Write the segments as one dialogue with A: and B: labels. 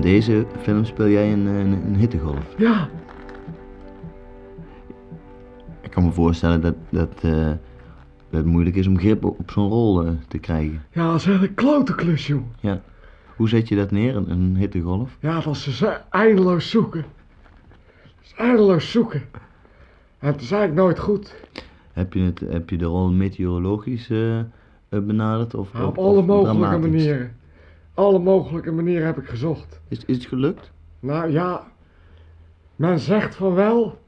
A: deze film speel jij een, eh, een, een hittegolf.
B: Ja.
A: Ik kan me voorstellen dat, dat, eh, dat het moeilijk is om grip op, op zo'n rol eh, te krijgen.
B: Ja, dat is echt een klote klus, joh.
A: Ja. Hoe zet je dat neer, een, een hittegolf?
B: Ja, dat is dus eh, eindeloos zoeken. Dat is eindeloos zoeken. En het is eigenlijk nooit goed.
A: Heb je, het, heb je de rol meteorologisch eh, eh, benaderd? Of,
B: Maar
A: of-
B: op alle
A: of
B: mogelijke
A: dramatisch?
B: manieren. Alle mogelijke manieren heb ik gezocht.
A: Is, is het gelukt?
B: Nou ja, men zegt van wel,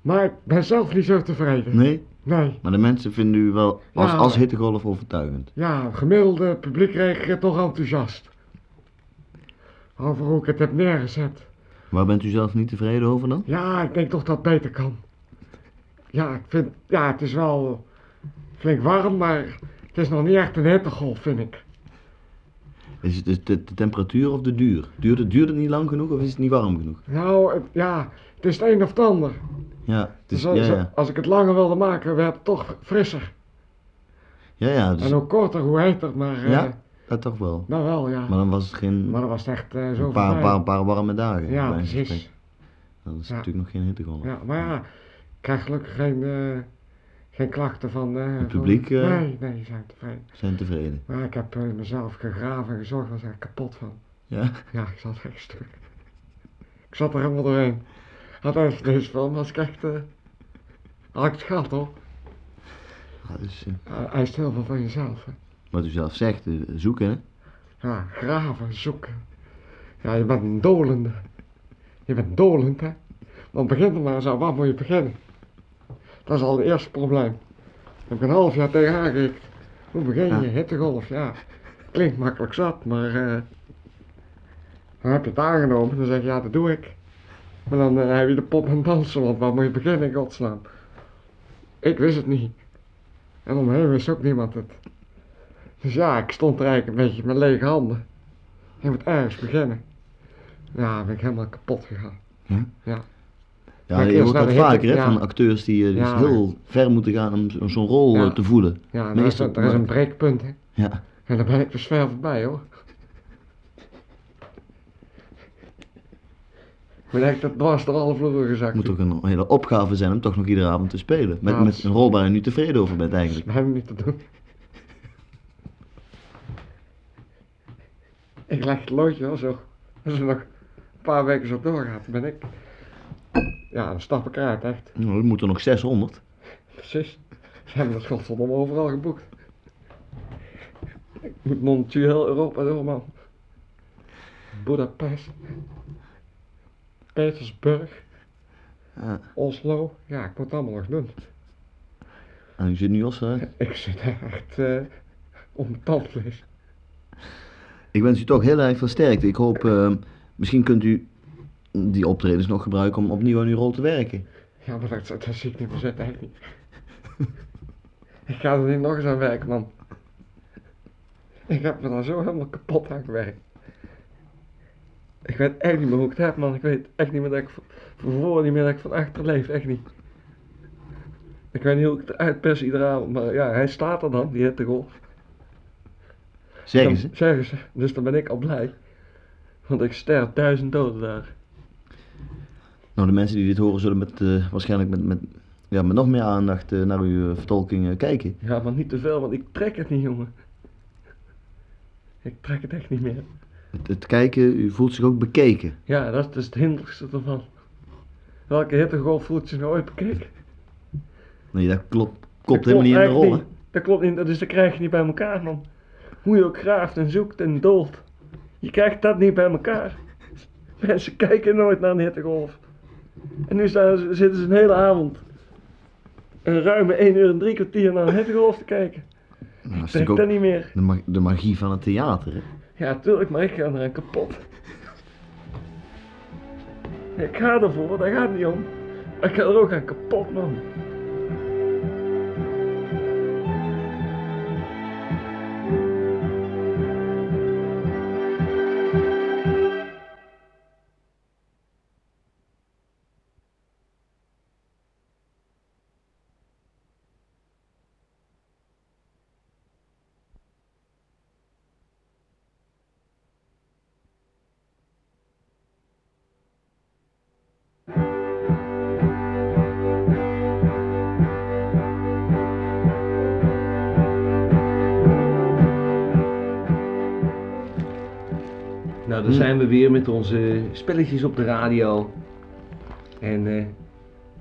B: maar ik ben zelf niet zo tevreden.
A: Nee.
B: Nee.
A: Maar de mensen vinden u wel als,
B: Ja.
A: als hittegolf overtuigend.
B: Ja, het gemiddelde publiek reageert toch enthousiast. Over hoe ik het heb neergezet.
A: Waar bent u zelf niet tevreden over dan?
B: Ja, ik denk toch dat het beter kan. Ja, ik vind, ja, het is wel flink warm, maar het is nog niet echt een hittegolf, vind ik.
A: Is het, is het de, de temperatuur of de duur? Duurt het, duurt het niet lang genoeg of is het niet warm genoeg?
B: Nou, het- ja, het is het een of het ander.
A: Ja, het is,
B: Zo-
A: ja,
B: zo-
A: ja.
B: Als ik het langer wilde maken, werd het toch frisser.
A: ja, ja, dus,
B: En hoe korter, hoe heter, maar eh,
A: ja dat toch wel.
B: nou wel, ja.
A: Maar dan was het geen
B: Maar dat was echt eh zo
A: een paar,
B: voorbij.
A: paar, paar warme dagen.
B: Ja,
A: bij een
B: precies.
A: gesprek. Dat is
B: Ja.
A: natuurlijk nog geen hittegolf.
B: Ja, maar ja, ik krijg gelukkig geen, eh, geen klachten van... eh,
A: Het
B: van-
A: publiek, eh?
B: Nee, nee, die zijn tevreden.
A: Zijn tevreden.
B: Maar ik heb eh, mezelf gegraven en gezorgd, was er kapot van.
A: Ja.
B: Ja, ik zat echt stuk. ik zat er helemaal doorheen. Had echt deze film, was ik echt... eh had ik het gehad, hoor.
A: Ja, dus, eh,
B: Hij eist heel veel van jezelf, hè.
A: wat u zelf zegt, eh, zoeken hè?
B: Ja, graven, zoeken. Ja, je bent een dolende. Je bent dolend, hè? Want begin er maar eens aan, waar moet je beginnen? Dat is al het eerste probleem. Daar heb ik een half jaar tegen aangekeken. Hoe begin je?
A: Ja.
B: Hittegolf, ja. Klinkt makkelijk zat, maar... eh, dan heb je het aangenomen, dan zeg je, ja, dat doe ik. Maar dan eh, heb je de pop en dansen, want waar moet je beginnen, in godsnaam? Ik wist het niet. En omheen wist ook niemand het. Dus ja, ik stond er eigenlijk een beetje met lege handen. Je moet ergens beginnen. Ja, ben ik helemaal kapot gegaan.
A: Ja,
B: Maar
A: je
B: eerst
A: hoort
B: naar
A: dat
B: de hitte-
A: vaker hè,
B: ja.
A: van acteurs die, eh, die
B: Ja.
A: heel ver moeten gaan om, zo- om zo'n rol
B: Ja.
A: eh, te voelen.
B: Ja, er is,
A: Meestal-
B: er is een breekpunt, hè.
A: Ja.
B: En daar ben ik dus ver voorbij, hoor. Ik ben echt het dwars door alle vloeren gezakt.
A: Het moet ook een hele opgave zijn om toch nog iedere avond te spelen. Met,
B: Ja, dat
A: met
B: is-
A: een rol waar je nu tevreden over bent
B: Dat is
A: eigenlijk.
B: bij hem niet te doen. Ik leg het loodje wel zo. Als er nog een paar weken zo doorgaat, ben ik... Ja, dan stap ik eruit, echt.
A: Nou, er moeten nog 600.
B: Precies. Ze hebben dat godverdomme overal geboekt. Ik moet montuur heel Europa door, man. Budapest. Petersburg.
A: Ja.
B: Oslo. Ja, ik moet het allemaal nog doen.
A: En u zit nu als... eh,
B: Ik zit echt eh op mijn tandvlees.
A: Ik wens u toch heel erg veel sterkte. Ik hoop, eh, misschien kunt u die optredens nog gebruiken om opnieuw aan uw rol te werken.
B: Ja, maar dat, dat zie ik niet meer zitten, echt niet. ik ga er niet nog eens aan werken, man. Ik heb me daar zo helemaal kapot aan gewerkt. Ik weet echt niet meer hoe ik het heb, man. Ik weet echt niet meer dat ik van van voor niet meer dat ik van achter leef, echt niet. Ik weet niet hoe ik het uitpers iedere avond, maar ja, hij staat er dan, die hittegolf.
A: Zeggen ze.
B: Dan- Zeggen ze. Dus dan ben ik al blij. Want ik sterf duizend doden daar.
A: Nou, de mensen die dit horen zullen met, eh, waarschijnlijk met, met, ja, met nog meer aandacht eh, naar uw eh, vertolking eh, kijken.
B: Ja, maar niet te veel, want ik trek het niet, jongen. Ik trek het echt niet meer.
A: Het, het kijken, u voelt zich ook bekeken.
B: Ja, dat is dus het hinderlijkste ervan. Welke hittegolf voelt je nou ooit bekeken?
A: Nee, dat klopt,
B: Dat
A: klopt helemaal niet in de
B: echt
A: rol. hè?
B: niet. Dat klopt niet, dus dat krijg je niet bij elkaar, man. Hoe je ook graaft en zoekt en doolt. Je krijgt dat niet bij elkaar. Mensen kijken nooit naar een hittegolf. En nu staan ze- zitten ze een hele avond. Een ruime 1 uur en drie kwartier naar een hittegolf te kijken.
A: Nou, dat is
B: Trek
A: natuurlijk
B: dat
A: ook
B: niet meer.
A: de, ma- de magie van het theater. Hè?
B: Ja, tuurlijk, maar ik ga eraan kapot. Ik ga ervoor, daar gaat het niet om. Maar Ik ga er ook aan kapot, man. Nou,
A: Hm.
B: dan zijn we weer met onze spelletjes op de radio. En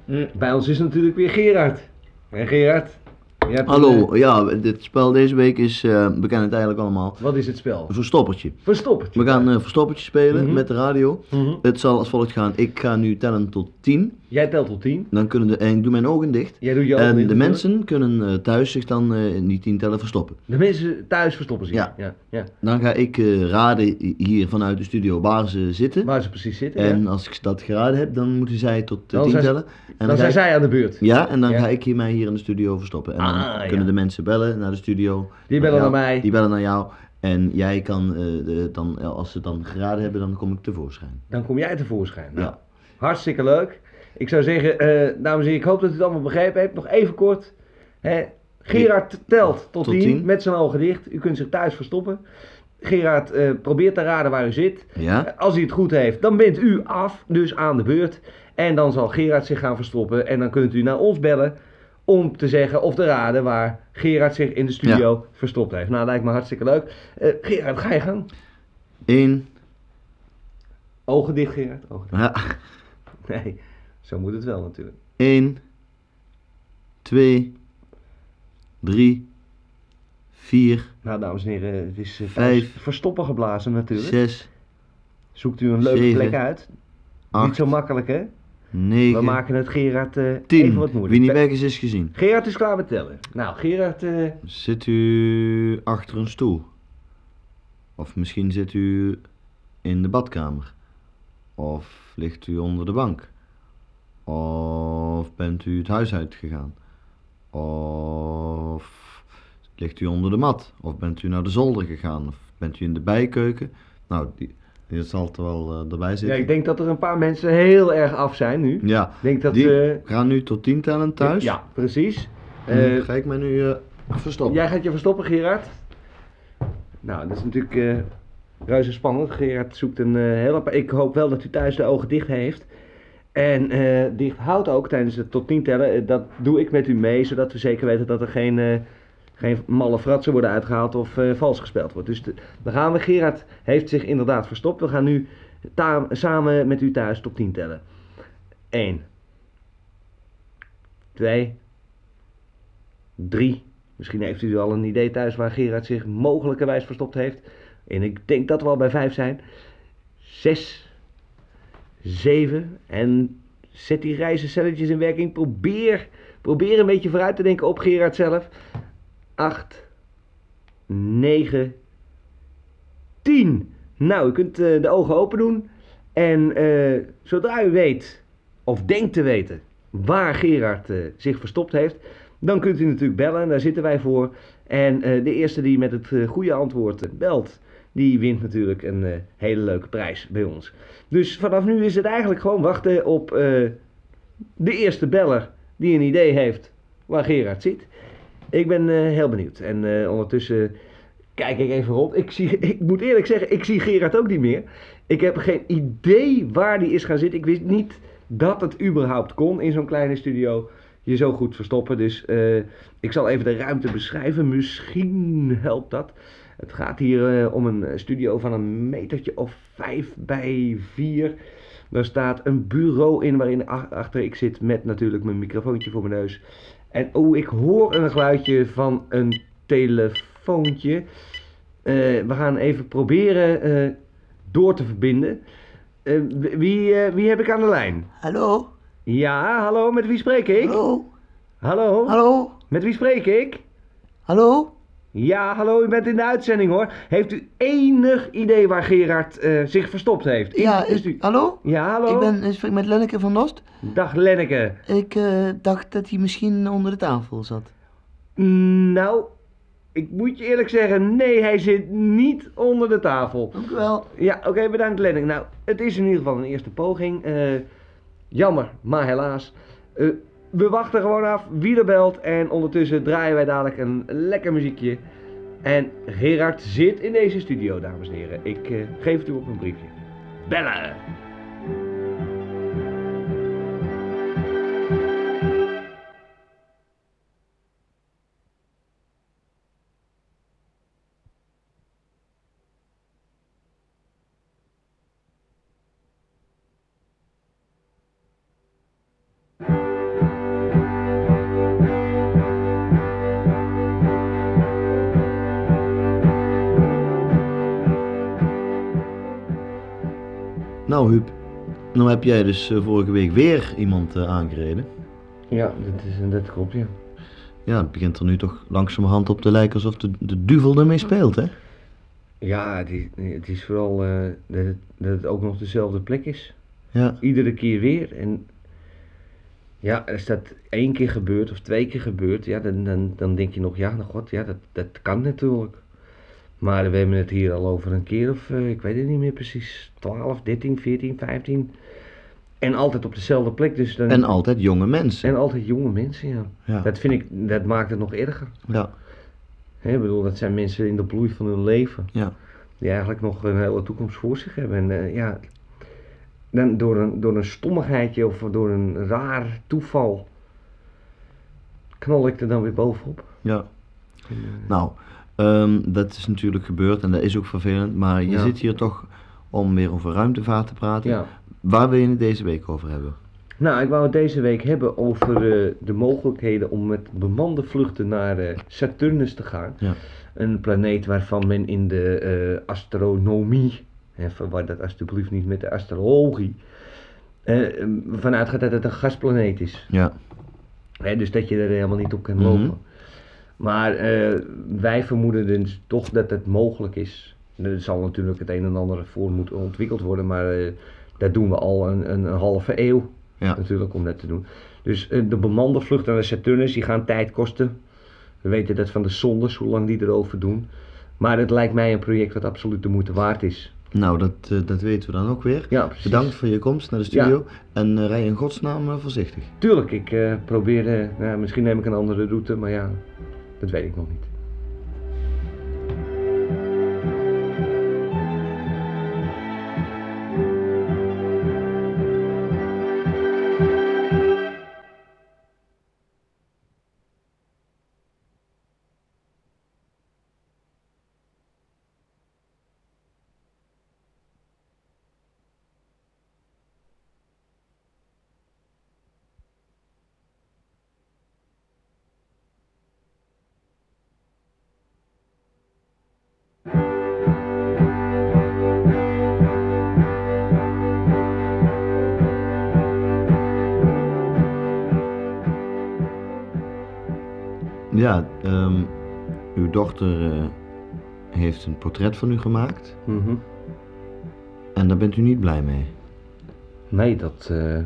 B: eh, bij ons is natuurlijk weer Gerard. Hé Gerard? jij hebt een, eh,
A: Hallo, ja, dit spel deze week is, eh we kennen het eigenlijk allemaal,
B: wat is het spel?
A: een verstoppertje.
B: Verstoppertje.
A: We gaan een verstoppertje spelen
B: Mhm.
A: met de radio.
B: Mhm.
A: Het zal als volgt gaan, ik ga nu tellen tot 10.
B: Jij telt tot 10.
A: Dan kunnen de, en ik doe mijn ogen dicht.
B: Jij doet je ogen
A: En
B: dicht,
A: Ehm, de
B: natuurlijk.
A: mensen kunnen eh, thuis zich dan eh, in die 10 tellen verstoppen.
B: De mensen thuis verstoppen zich.
A: Ja.
B: Ja, ja.
A: Dan ga ik eh, raden hier vanuit de studio waar ze zitten.
B: Waar ze precies zitten. ja.
A: En als ik dat geraden heb, dan moeten zij tot eh,
B: Dan
A: 10
B: zijn ze-
A: tellen. En
B: Dan
A: ga
B: zijn
A: ik-
B: zij aan de beurt.
A: Ja, en dan
B: Ja.
A: ga ik hier mij hier in de studio verstoppen. En dan
B: Ah,
A: kunnen
B: ja.
A: de mensen bellen naar de studio.
B: Die bellen
A: jou-
B: naar mij.
A: Die bellen naar jou. En jij kan, eh, de- dan, als ze dan geraden hebben, dan kom ik tevoorschijn.
B: Dan kom jij tevoorschijn. Nou,
A: Ja.
B: Hartstikke leuk. Ik zou zeggen, eh, dames en heren, ik hoop dat u het allemaal begrepen hebt. Nog even kort. Hè, Gerard telt tot
A: Tot
B: 10
A: tien.
B: met zijn ogen dicht. U kunt zich thuis verstoppen. Gerard eh, probeert te raden waar u zit.
A: Ja?
B: Als hij het goed heeft, dan bent u af, dus aan de beurt. En dan zal Gerard zich gaan verstoppen. En dan kunt u naar ons bellen om te zeggen of te raden waar Gerard zich in de studio verstopt heeft. Nou, lijkt me hartstikke leuk. Eh, Gerard, ga je gaan?
A: 1.
B: Ogen dicht, Gerard. Ogen
A: Ja.
B: dicht. Nee, zo moet het wel natuurlijk.
A: 1. 2. 3. 4.
B: Nou, dames en heren, het is eh,
A: Vijf.
B: vers- verstoppen geblazen natuurlijk.
A: 6.
B: Zoekt u een leuke
A: Zeven.
B: plek uit. Niet
A: 8.
B: zo makkelijk, hè? We
A: 9.
B: maken het Gerard eh, even
A: 10.
B: wat moeilijk.
A: Wie niet weg is, is gezien.
B: Gerard is klaar met tellen. Nou, Gerard... eh,
A: Zit u achter een stoel? Of misschien zit u in de badkamer? Of ligt u onder de bank? Of bent u het huis uitgegaan? Of ligt u onder de mat? Of bent u naar de zolder gegaan? Of bent u in de bijkeuken? Nou, die, die zal er wel eh, erbij
B: ja,
A: zitten.
B: ik denk dat er een paar mensen heel erg af zijn nu.
A: Ja,
B: Ik denk dat...
A: die
B: eh,
A: gaan nu tot tien tellen thuis.
B: Ja, precies.
A: En
B: Eh,
A: ga ik mij nu eh, verstoppen?
B: jij gaat je verstoppen, Gerard. Nou, dat is natuurlijk eh reuze spannend. Gerard zoekt een eh hele... pa- Ik hoop wel dat u thuis de ogen dicht heeft. En eh, dicht houdt ook tijdens het tot 10 tellen. Eh, dat doe ik met u mee, zodat we zeker weten dat er geen, eh, geen malle fratsen worden uitgehaald of eh, vals gespeeld wordt. Dus de- dan gaan we. Gerard heeft zich inderdaad verstopt. We gaan nu ta- samen met u thuis tot 10 tellen. 1. 2. 3. Misschien heeft u al een idee thuis waar Gerard zich mogelijkerwijs verstopt heeft. En ik denk dat we al bij 5 zijn. 6. 7. En zet die reizencelletjes in werking. Probeer, probeer een beetje vooruit te denken op Gerard zelf. 8. 9. 10. Nou, u kunt eh, de ogen open doen. En eh, zodra u weet, of denkt te weten, waar Gerard eh, zich verstopt heeft, dan kunt u natuurlijk bellen. Daar zitten wij voor. En eh, de eerste die met het eh, goede antwoord eh, belt, die wint natuurlijk een eh, hele leuke prijs bij ons. Dus vanaf nu is het eigenlijk gewoon wachten op eh, de eerste beller die een idee heeft waar Gerard zit. Ik ben eh, heel benieuwd. En eh, ondertussen kijk ik even rond. Ik, zie, ik moet eerlijk zeggen, ik zie Gerard ook niet meer. Ik heb geen idee waar die is gaan zitten. Ik wist niet dat het überhaupt kon in zo'n kleine studio. Je zo goed verstoppen. Dus eh, ik zal even de ruimte beschrijven. Misschien helpt dat. Het gaat hier eh, om een eh, studio van een metertje of vijf bij vier. Daar staat een bureau in waarin ach- achter ik zit met natuurlijk mijn microfoontje voor mijn neus. En oh, ik hoor een geluidje van een telefoontje. Eh, we gaan even proberen eh, door te verbinden. Eh, w- wie, eh, wie heb ik aan de lijn?
A: Hallo?
B: Ja, hallo, met wie spreek ik?
A: Hallo?
B: Hallo?
A: Hallo?
B: Met wie spreek ik?
A: Hallo?
B: Ja, hallo, u bent in de uitzending hoor. Heeft u enig idee waar Gerard eh, zich verstopt heeft? In-
C: Ja,
B: dus
C: ik-
B: u-
C: hallo?
B: ja, hallo.
C: Ik ben in gesprek met Lenneke van Dost.
B: Dag Lenneke.
C: Ik eh, dacht dat hij misschien onder de tafel zat.
B: Nou, ik moet je eerlijk zeggen, nee, hij zit niet onder de tafel.
C: Dank u wel.
B: Ja, oké, bedankt Lennink. Nou, het is in ieder geval een eerste poging. Eh, jammer, maar helaas. Eh, we wachten gewoon af wie er belt en ondertussen draaien wij dadelijk een lekker muziekje. En Gerard zit in deze studio, dames en heren. Ik eh, geef het u op een briefje. Bellen!
A: Nou Huub, nou heb jij dus eh, vorige week weer iemand eh, aangereden.
B: Ja, dat, is, dat klopt, ja.
A: Ja, het begint er nu toch langzamerhand op te lijken alsof de, de duvel ermee speelt, hè?
B: Ja, het is, het is vooral eh, dat, het, dat het ook nog dezelfde plek is.
A: Ja,
B: iedere keer weer. En ja, als dat één keer gebeurt of twee keer gebeurt, ja, dan, dan, dan denk je nog, ja, nou god, ja, dat, dat kan natuurlijk. Maar we hebben het hier al over een keer of, eh, ik weet het niet meer precies, 12, 13, 14, 15. En altijd op dezelfde plek, dus dan...
A: en altijd jonge mensen.
B: en altijd jonge mensen, ja.
A: Ja.
B: Dat vind ik, dat maakt het nog erger.
A: Ja,
B: Hè, ik bedoel, dat zijn mensen in de bloei van hun leven
A: ja.
B: die eigenlijk nog een hele toekomst voor zich hebben. En eh, ja, dan door een, door een stommigheidje of door een raar toeval knal ik er dan weer bovenop.
A: Ja. Nou, ehm, dat is natuurlijk gebeurd en dat is ook vervelend, maar je
B: Ja.
A: zit hier toch om weer over ruimtevaart te praten.
B: Ja.
A: Waar wil je het deze week over hebben?
B: Nou, ik wou het deze week hebben over eh, de mogelijkheden om met bemande vluchten naar eh, Saturnus te gaan.
A: Ja.
B: Een planeet waarvan men in de eh, astronomie, en verwar dat alsjeblieft niet met de astrologie, eh, vanuit gaat dat het een gasplaneet is.
A: Ja,
B: Hè, dus dat je er helemaal niet op kan
A: Mhm.
B: lopen. Maar eh, wij vermoeden dus toch dat het mogelijk is. Er zal natuurlijk het een en ander voor moeten ontwikkeld worden, maar eh, dat doen we al een, een, een halve eeuw
A: ja,
B: natuurlijk om dat te doen. Dus eh, de bemande vluchten naar de Saturnus, die gaan tijd kosten. We weten dat van de zondes, hoe lang die erover doen. Maar het lijkt mij een project dat absoluut de moeite waard is.
A: nou dat, eh, dat weten we dan ook weer.
B: Ja, precies.
A: Bedankt voor je komst naar de studio en eh, rij in godsnaam eh, voorzichtig.
B: Tuurlijk, ik eh probeer, eh, nou, misschien neem ik een andere route, maar ja, dat weet ik nog niet.
A: Ja, ehm, uw dochter eh, heeft een portret van u gemaakt
B: Mhm.
A: en daar bent u niet blij mee.
B: Nee, dat. eh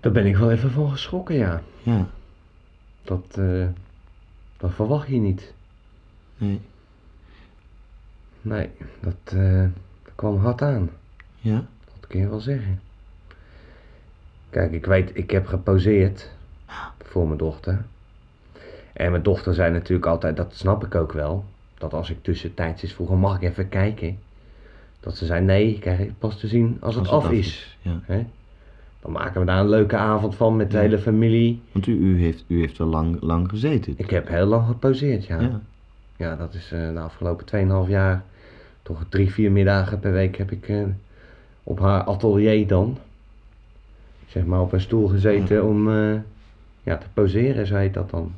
B: daar ben ik wel even van geschrokken, ja.
A: Ja,
B: Dat, eh, dat verwacht je niet.
A: nee,
B: Nee, dat, eh, dat kwam hard aan.
A: ja,
B: Dat kun je wel zeggen. Kijk, ik weet, ik heb geposeerd voor mijn dochter. En mijn dochter zei natuurlijk altijd, dat snap ik ook wel. Dat als ik tussentijds is vroeger, mag ik even kijken? Dat ze zei, nee, ik krijg het pas te zien als het,
A: Als
B: af, is.
A: Ja.
B: Hè? Dan maken we daar een leuke avond van met de
A: Ja.
B: hele familie.
A: Want u, u, heeft, u heeft wel lang, lang gezeten.
B: Ik heb heel lang geposeerd, ja. Ja,
A: ja.
B: dat is eh, de afgelopen 2,5 jaar. Toch drie, vier middagen per week heb ik eh, op haar atelier dan. Zeg maar op een stoel gezeten om eh, ja, te poseren, zo heet dat dan.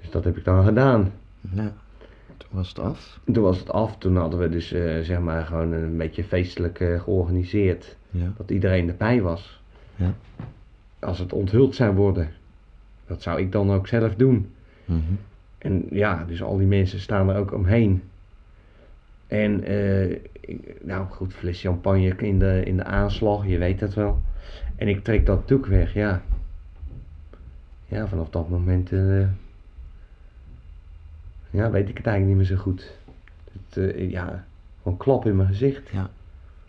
B: Dus dat heb ik dan gedaan.
A: Ja. Toen was het af.
B: Toen was het af, toen hadden we dus eh, zeg maar gewoon een beetje feestelijk eh, georganiseerd.
A: Ja.
B: Dat iedereen erbij was.
A: Ja.
B: Als het onthuld zou worden. Dat zou ik dan ook zelf doen.
A: Mhm.
B: En ja, dus al die mensen staan er ook omheen. En eh, ik- nou goed, fles champagne in de, in de aanslag, je weet dat wel. En ik trek dat doek weg, ja. Ja, vanaf dat moment eh, ja, weet ik het eigenlijk niet meer zo goed. Het, eh, ja, gewoon klap in mijn gezicht.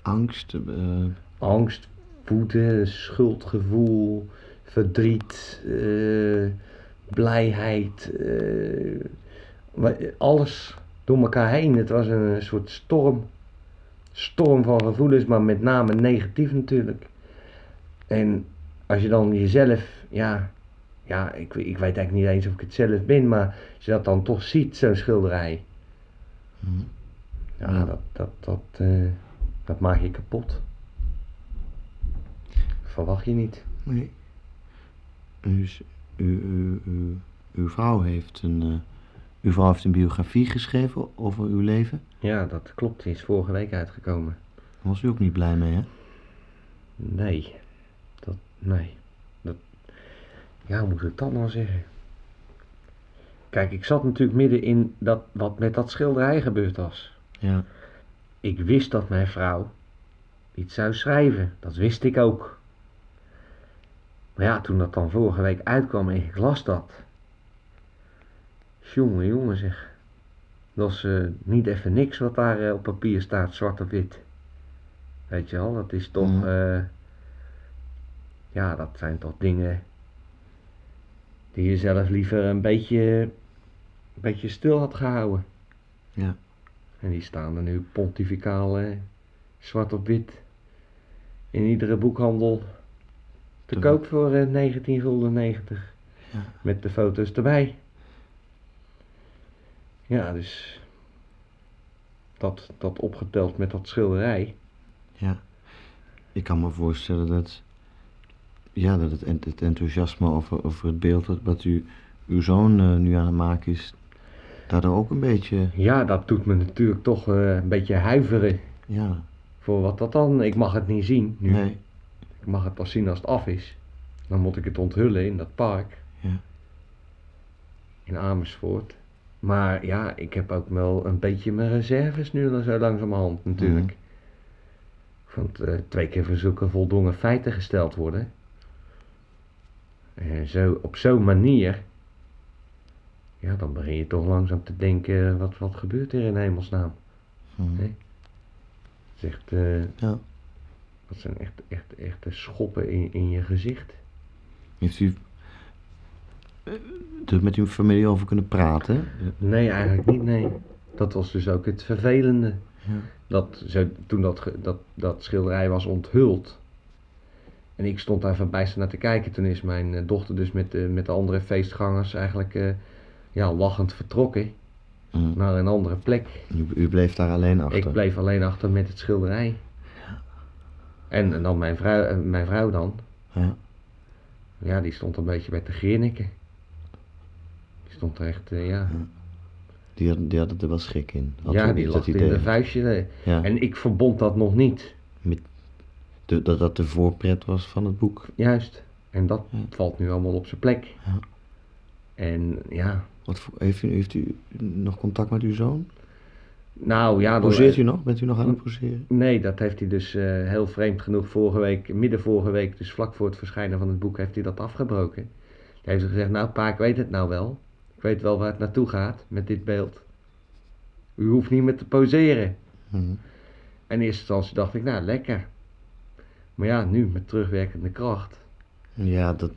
A: Angst. eh,
B: Angst, woede, schuldgevoel, verdriet, eh, blijheid, eh, wa- alles door elkaar heen. Het was een soort storm. Storm van gevoelens, maar met name negatief natuurlijk. En als je dan jezelf, ja, ja ik, we- ik weet eigenlijk niet eens of ik het zelf ben, maar als je dat dan toch ziet, zo'n schilderij.
A: Mhm.
B: Ja,
A: Ja.
B: dat, dat, dat, eh, dat maak je kapot. Verwacht je niet.
A: nee. U, is- u, u, u- uw vrouw heeft een. eh, uw vrouw heeft een biografie geschreven over uw leven.
B: Ja, dat klopt. Die is vorige week uitgekomen.
A: Daar was u ook niet blij mee, hè?
B: Nee. Dat, nee. Dat, ja, hoe moet ik dat nou zeggen? Kijk, ik zat natuurlijk midden in dat, wat met dat schilderij gebeurd was.
A: Ja.
B: Ik wist dat mijn vrouw iets zou schrijven. Dat wist ik ook. Maar ja, toen dat dan vorige week uitkwam en ik las dat. Jongen, jongen zeg. Dat is eh, niet even niks wat daar eh, op papier staat, zwart op wit. Weet je wel, dat is toch.
A: Mhm.
B: eh, ja, dat zijn toch dingen. die je zelf liever een beetje. een beetje stil had gehouden.
A: Ja.
B: En die staan er nu pontificaal eh, zwart op wit. in iedere boekhandel. te
A: Te-
B: koop voor eh, 19 gulden 90.
A: Ja.
B: Met de foto's erbij. Ja, dus dat, dat opgeteld met dat schilderij.
A: Ik kan me voorstellen dat. Ja, dat het, ent- het enthousiasme over, over het beeld dat- wat u, uw zoon eh, nu aan het maken is, daardoor ook een beetje.
B: Ja, dat doet me natuurlijk toch eh, een beetje huiveren
A: Ja,
B: voor wat dat dan. Ik mag het niet zien nu.
A: nee.
B: Ik mag het pas zien als het af is. Dan moet ik het onthullen in dat park.
A: Ja.
B: In Amersfoort. Maar ja, ik heb ook wel een beetje mijn reserves nu al zo langzamerhand natuurlijk.
A: Mhm.
B: Want eh, twee keer voor zulke voldongen feiten gesteld worden. En zo, op zo'n manier. Ja, dan begin je toch langzaam te denken, eh, wat, wat gebeurt er in hemelsnaam?
A: Hm.
B: Nee. Het is echt, eh,
A: Ja.
B: dat zijn echt, echt, echt schoppen in, in je gezicht.
A: Heeft u eh, er met uw familie over kunnen praten?
B: Nee, eigenlijk niet, nee. Dat was dus ook het vervelende.
A: Ja.
B: Dat, ze, toen dat, ge- dat, dat schilderij was onthuld. En ik stond daar verbijsterd naar te kijken. Toen is mijn eh, dochter dus met, de- met de andere feestgangers eigenlijk eh, ja, lachend vertrokken
A: Hm.
B: naar een andere plek.
A: U, u bleef daar alleen achter.
B: Nou, Ik bleef alleen achter met het schilderij. En, en dan mijn vrouw, eh, mijn vrouw dan.
A: Ja.
B: Ja, die stond een beetje bij te grinniken. Die stond er echt, eh, ja.
A: Die, had, die had het er wel schrik in. Had u
B: ja,
A: niet
B: die
A: dat
B: lachte in
A: idee?
B: de vuistje. eh.
A: Ja.
B: En ik verbond dat nog niet.
A: De- dat dat de voorpret was van het boek.
B: Juist. En dat
A: Ja.
B: valt nu allemaal op zijn plek.
A: Ja.
B: En ja,
A: Wat voor- heeft, u, heeft u nog contact met uw zoon?
B: nou ja... door-
A: Poseert u nog? Bent u nog aan het poseren?
B: Nee, dat heeft hij dus eh, heel vreemd genoeg vorige week, midden vorige week, dus vlak voor het verschijnen van het boek, heeft hij dat afgebroken. Hij heeft gezegd, nou pa, ik weet het nou wel. Ik weet wel waar het naartoe gaat met dit beeld. U hoeft niet meer te poseren.
A: Hm.
B: En in eerste instantie dacht ik, nou lekker. Maar ja, nu met terugwerkende kracht.
A: Ja, dat,
B: ik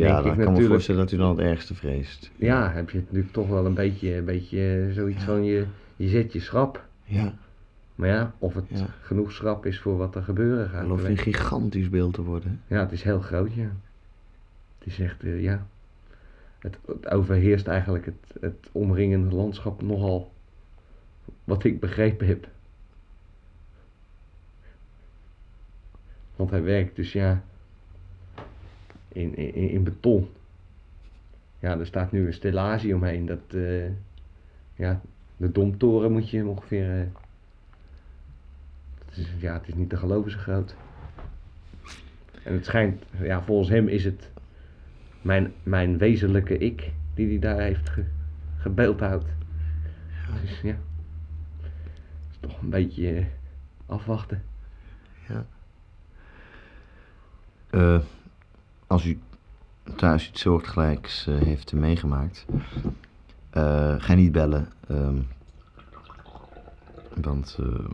A: ja dan kan ik me
B: natuurlijk.
A: voorstellen dat u dan het ergste vreest.
B: Ja, heb je natuurlijk toch wel een beetje, een beetje zoiets
A: Ja.
B: van je, je zet je schrap.
A: Ja,
B: Maar ja, of het
A: Ja.
B: genoeg schrap is voor wat er gebeuren gaat.
A: dat loopt
B: dat
A: een
B: weet-
A: gigantisch beeld te worden. hè?
B: Ja, het is heel groot, ja. Het is echt, eh, ja. Het, het overheerst eigenlijk het, het omringende landschap nogal. Wat ik begrepen heb. Want hij werkt dus, ja. In, in, in beton. Ja, er staat nu een stellage omheen. Dat, eh, ja, de domtoren moet je hem ongeveer. eh, het is, ja, het is niet te geloven zo groot. En het schijnt, ja, volgens hem is het mijn, mijn wezenlijke ik die hij daar heeft ge, gebeeldhouwd. Dus ja, het is toch een beetje eh, afwachten.
A: Eh, als u thuis iets soortgelijks eh, heeft meegemaakt, eh, ga niet bellen. ehm, want ehm,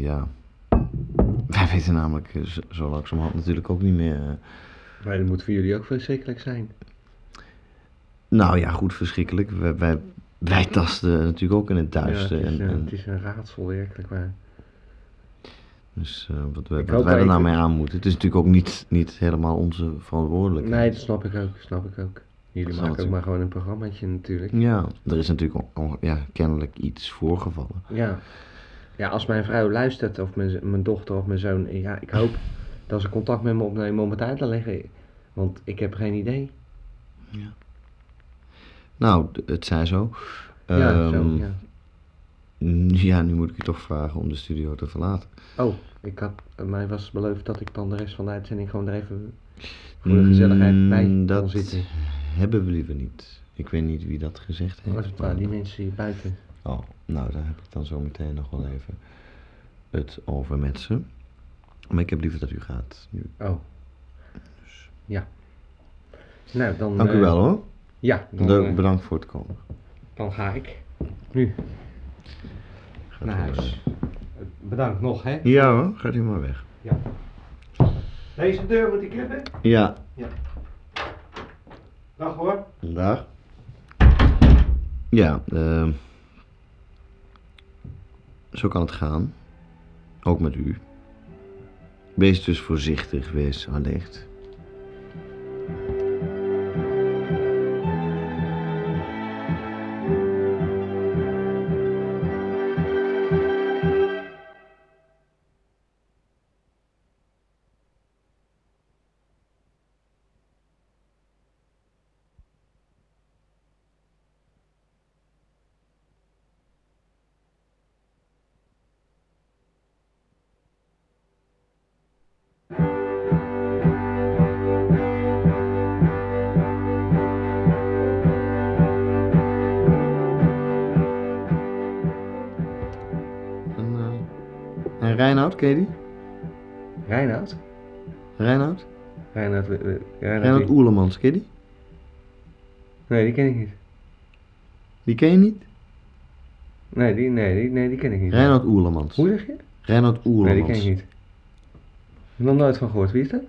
A: ja, wij weten namelijk eh, zo- zo langzamerhand natuurlijk ook niet meer. eh,
B: Maar dat moet voor jullie ook verschrikkelijk zijn.
A: nou ja, goed, verschrikkelijk. Wij, wij, wij tasten natuurlijk ook in het
B: ja,
A: duister.
B: het, is,
A: en,
B: eh,
A: en-
B: het is een raadsel, werkelijk waar.
A: dus eh, wat, wij-
B: Ik
A: wat
B: hoop
A: wij er
B: dat
A: nou
B: ik-
A: mee aan moeten. Het is natuurlijk ook niet, niet helemaal onze verantwoordelijkheid.
B: Nee, dat snap ik ook, snap ik ook. Jullie
A: Dat zal
B: maken ook
A: natuurlijk.
B: maar gewoon een programmaatje natuurlijk.
A: Ja, er is natuurlijk on- on- ja, kennelijk iets voorgevallen.
B: Ja. ja, als mijn vrouw luistert, of mijn, z- mijn dochter of mijn zoon, eh, ja, ik hoop dat ze contact met me opnemen om het uit te leggen. Want ik heb geen idee.
A: Nou, d- het zij zo.
B: ja,
A: Ehm,
B: zo, ja.
A: Ja, nu moet ik je toch vragen om de studio te verlaten.
B: Oh, ik had, mij was beloofd dat ik dan de rest van de uitzending gewoon er even voor de gezelligheid bij
A: Mm,
B: kon
A: Dat
B: zitten.
A: hebben we liever niet. Ik weet niet wie dat gezegd heeft.
B: Maar Oh, het
A: maar-
B: waren die mensen hier buiten.
A: Oh, nou, daar heb ik dan zo meteen nog wel even het over met ze. Maar ik heb liever dat u gaat. Nu.
B: Oh. Ja. Nou, dan...
A: Dus. Dank u
B: eh,
A: wel hoor.
B: Ja, dan,
A: Leuk,
B: eh,
A: bedankt voor het komen.
B: dan ga ik. Nu,
A: Gaat
B: naar
A: u
B: huis. Bedankt nog, hè.
A: maar- Ja hoor, gaat u maar weg.
B: Deze deur moet ik hebben.
A: Ja,
B: Dag hoor.
A: dag. Ja, ehm, zo kan het gaan. Ook met u. Wees dus voorzichtig, wees alert. En, eh, en Reinoud, ken je die?
B: Reinoud?
A: Reinoud?
B: Reinoud, eh, eh,
A: Reinoud
B: Reinoud.
A: Oerlemans, ken je die?
B: Nee, die ken ik niet.
A: Die ken je niet?
B: Nee, die, nee, die, nee, die ken ik niet.
A: Reinoud Oerlemans.
B: Hoe zeg je?
A: Reinoud
B: Nee,
A: Oerlemans.
B: die ken ik niet. Ik heb nog nooit van gehoord. Wie is dat?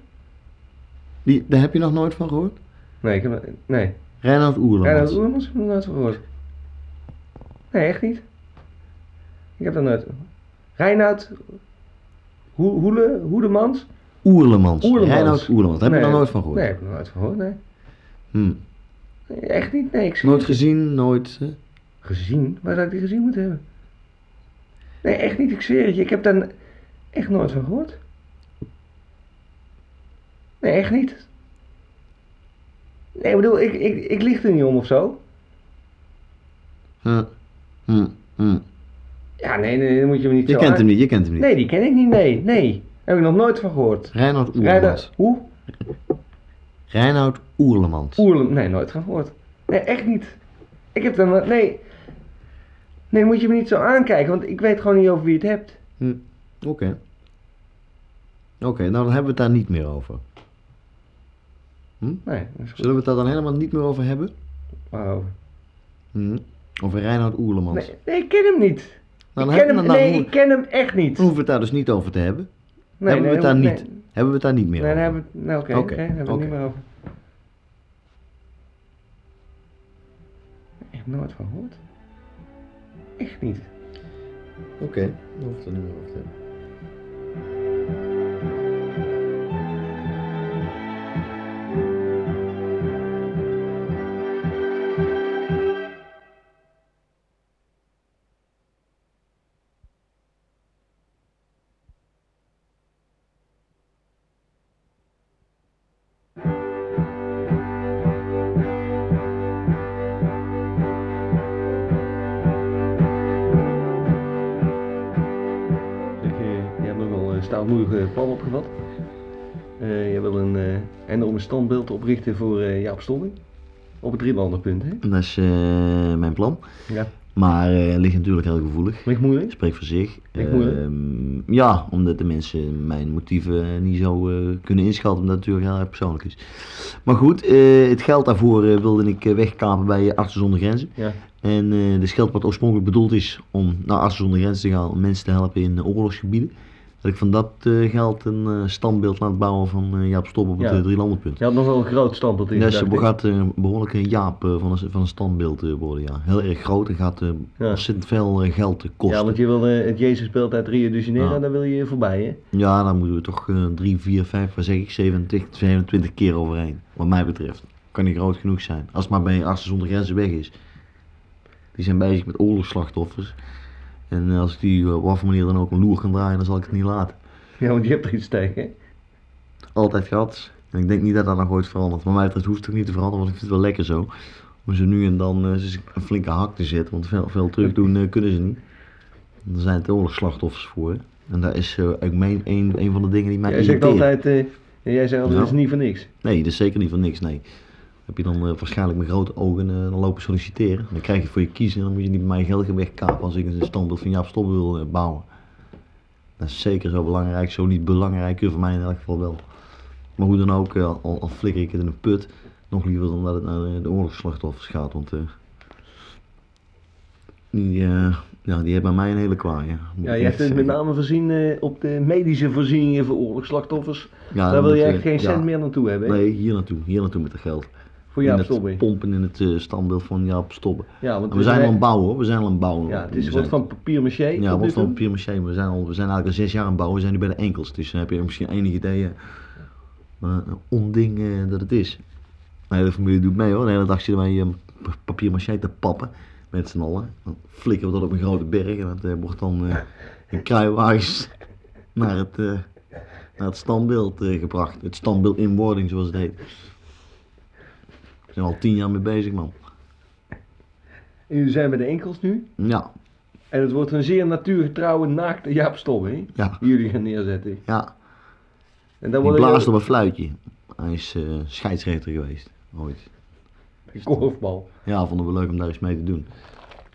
A: Die, daar heb je nog nooit van gehoord?
B: Nee, ik heb... Nee.
A: Reinoud Oerlemans.
B: Reinoud Oermans heb ik nog nooit van gehoord. Nee, echt niet. Ik heb dat nooit... Reinoud... Hoe- Hoele... Hoedemans?
A: Oerlemans.
B: Oerlemans.
A: Reinoud Oerlemans. Daar heb je
B: Nee,
A: nog nooit van gehoord?
B: Nee, heb ik nog nooit van gehoord, nee.
A: Hm.
B: Nee, Echt niet, nee. Ik zweer
A: Nooit
B: het.
A: gezien, nooit... eh,
B: Gezien? Waar zou ik die gezien moeten hebben? Nee, echt niet, ik zweer het je. Ik heb daar echt nooit van gehoord. Nee, echt niet. Nee, ik bedoel, ik, ik, ik lieg er niet om of zo.
A: hm, hm, hm.
B: Ja, nee, nee, dan moet je me niet
A: Je
B: zo
A: kent
B: aan-
A: hem niet, je kent hem niet.
B: Nee, die ken ik niet, nee, nee. Daar heb ik nog nooit van gehoord.
A: Reinoud Oerlemans.
B: Rijden, hoe?
A: Reinoud Oerlemans.
B: Oerlen, nee, nooit van gehoord. Nee, echt niet. Ik heb dan, nee. Nee, moet je me niet zo aankijken, want ik weet gewoon niet over wie je het hebt.
A: Oké. Oké, nou dan hebben we het daar niet meer over.
B: Nee, dat is goed.
A: Zullen we het daar dan helemaal niet meer over hebben?
B: Waarover?
A: Hm. Over Reinoud Oerlemans. Nou,
B: Nee, nee, ik ken hem niet.
A: Dan
B: ik
A: hebben
B: ken
A: we
B: hem,
A: dan-
B: nee,
A: hoe-
B: ik ken hem echt niet.
A: Dan hoeven we het daar dus niet over te hebben.
B: Nee,
A: hebben we het daar
B: nee,
A: niet?
B: Nee, nee,
A: Hebben we het daar niet meer
B: daar
A: over?
B: hebben we het- nee, oké,
A: Oké,
B: oké, daar hebben we het
A: oké.
B: niet meer over. Ik heb nooit van gehoord. Echt niet.
A: Oké, dan hoeven we het er niet meer over te hebben.
B: Zeg, eh, je hebt nog wel een stoutmoedig plan opgevat. Eh, je wil een eh, enorme standbeeld oprichten voor eh, Jaap Stomming. Op het drielandenpunt, hè?
A: Dat is eh, mijn plan.
B: Ja.
A: Maar eh ligt natuurlijk heel gevoelig.
B: Ligt moeilijk?
A: Spreek voor zich.
B: Ligt moeilijk?
A: Ehm, ja, omdat de mensen mijn motieven niet zo eh, kunnen inschatten, omdat het natuurlijk heel erg persoonlijk is. Maar goed, eh, het geld daarvoor eh, wilde ik eh, wegkapen bij eh, Artsen zonder Grenzen.
B: Ja.
A: En eh dus geld wat oorspronkelijk bedoeld is om naar Artsen zonder Grenzen te gaan, om mensen te helpen in eh, oorlogsgebieden. Dat ik van dat eh, geld een eh, standbeeld laat bouwen van eh, Jaap Stop op het
B: Ja.
A: eh, Drielandenpunt.
B: Je had nog wel een groot standbeeld in.
A: Ja, ze gaat eh, behoorlijk een jaap eh, van, een, van een standbeeld eh, worden, ja. Heel erg groot en gaat eh,
B: Ja.
A: ontzettend veel eh, geld te kosten.
B: Ja,
A: Ja,
B: want je wilde het Jezusbeeld uit Rio de Janeiro,
A: Ja.
B: daar wil je voorbij, hè?
A: dan moeten we toch eh, drie, vier, vijf, waar zeg ik, 27, 27 keer overheen. Wat mij betreft. Kan niet groot genoeg zijn. Als het maar bij Artsen zonder grenzen weg is. Die zijn bezig met oorlogsslachtoffers. En als ik die eh, op wat voor manier dan ook een loer kan draaien, dan zal ik het niet laten.
B: Ja, want je hebt er iets tegen, hè?
A: altijd gehad. En ik denk niet dat dat nog ooit verandert. Maar mij betreft hoeft het ook niet te veranderen, want ik vind het wel lekker zo. Om ze nu en dan eh, ze eens een flinke hak te zetten, want veel, veel terug doen eh, kunnen ze niet. Daar zijn het oorlogsslachtoffers voor. En dat is eh, ook mijn, een, een van de dingen die mij
B: Jij zegt
A: irriteert.
B: altijd, eh, jij zegt altijd,
A: Ja.
B: het is niet voor niks.
A: Nee, dat is zeker niet van niks, nee. Heb je dan eh, waarschijnlijk met grote ogen eh, dan lopen solliciteren. Dan krijg je voor je kiezen en dan moet je niet mijn geld gaan wegkapen als ik een standbeeld van Jaap Stop wil eh, bouwen. Dat is zeker zo belangrijk, zo niet belangrijk, eh, voor mij in elk geval wel. Maar hoe dan ook, eh, al, al flikker ik het in een put, nog liever dan dat het naar eh, de, de oorlogsslachtoffers gaat, want eh, die, eh, ja, die hebben bij mij een hele kwaai.
B: Ja, jij hebt het met name voorzien eh, op de medische voorzieningen voor oorlogsslachtoffers.
A: Ja,
B: Daar wil
A: dat,
B: jij
A: eh,
B: geen
A: ja.
B: cent meer naartoe hebben. hè?
A: Nee, hier naartoe, hier naartoe met het geld.
B: Voor jou
A: in het
B: stoppen.
A: pompen in het eh, standbeeld van Jaap Stobbe.
B: Ja, want
A: En we zijn al aan het bouwen hoor, we zijn al aan het bouwen.
B: Ja, het
A: We
B: is
A: zijn-
B: wat van papier maché.
A: Ja,
B: tot nu
A: wat van
B: toe.
A: papier maché, we zijn, al, we zijn eigenlijk al zes jaar aan het bouwen, we zijn nu bij de enkels. Dus dan heb je misschien enig idee eh, wat een onding eh, dat het is. Mijn hele familie doet mee hoor, de hele dag zitten wij eh, p- papier maché te pappen. Met z'n allen. Dan flikken we dat op een grote berg en dat eh, wordt dan eh, in kruiwagens naar het, eh, naar het standbeeld eh, gebracht. Het standbeeld in wording zoals het heet. We zijn al tien jaar mee bezig man.
B: En jullie zijn bij de enkels nu.
A: Ja,
B: En het wordt een zeer natuurgetrouwe naakte Jaap Stobbe, hè,
A: ja,
B: Die jullie gaan neerzetten.
A: ja.
B: En dan
A: Die
B: wordt
A: blaast op
B: een
A: een fluitje. Hij is eh, scheidsrechter geweest, ooit.
B: korfbal.
A: Ja, vonden we leuk om daar iets mee te doen.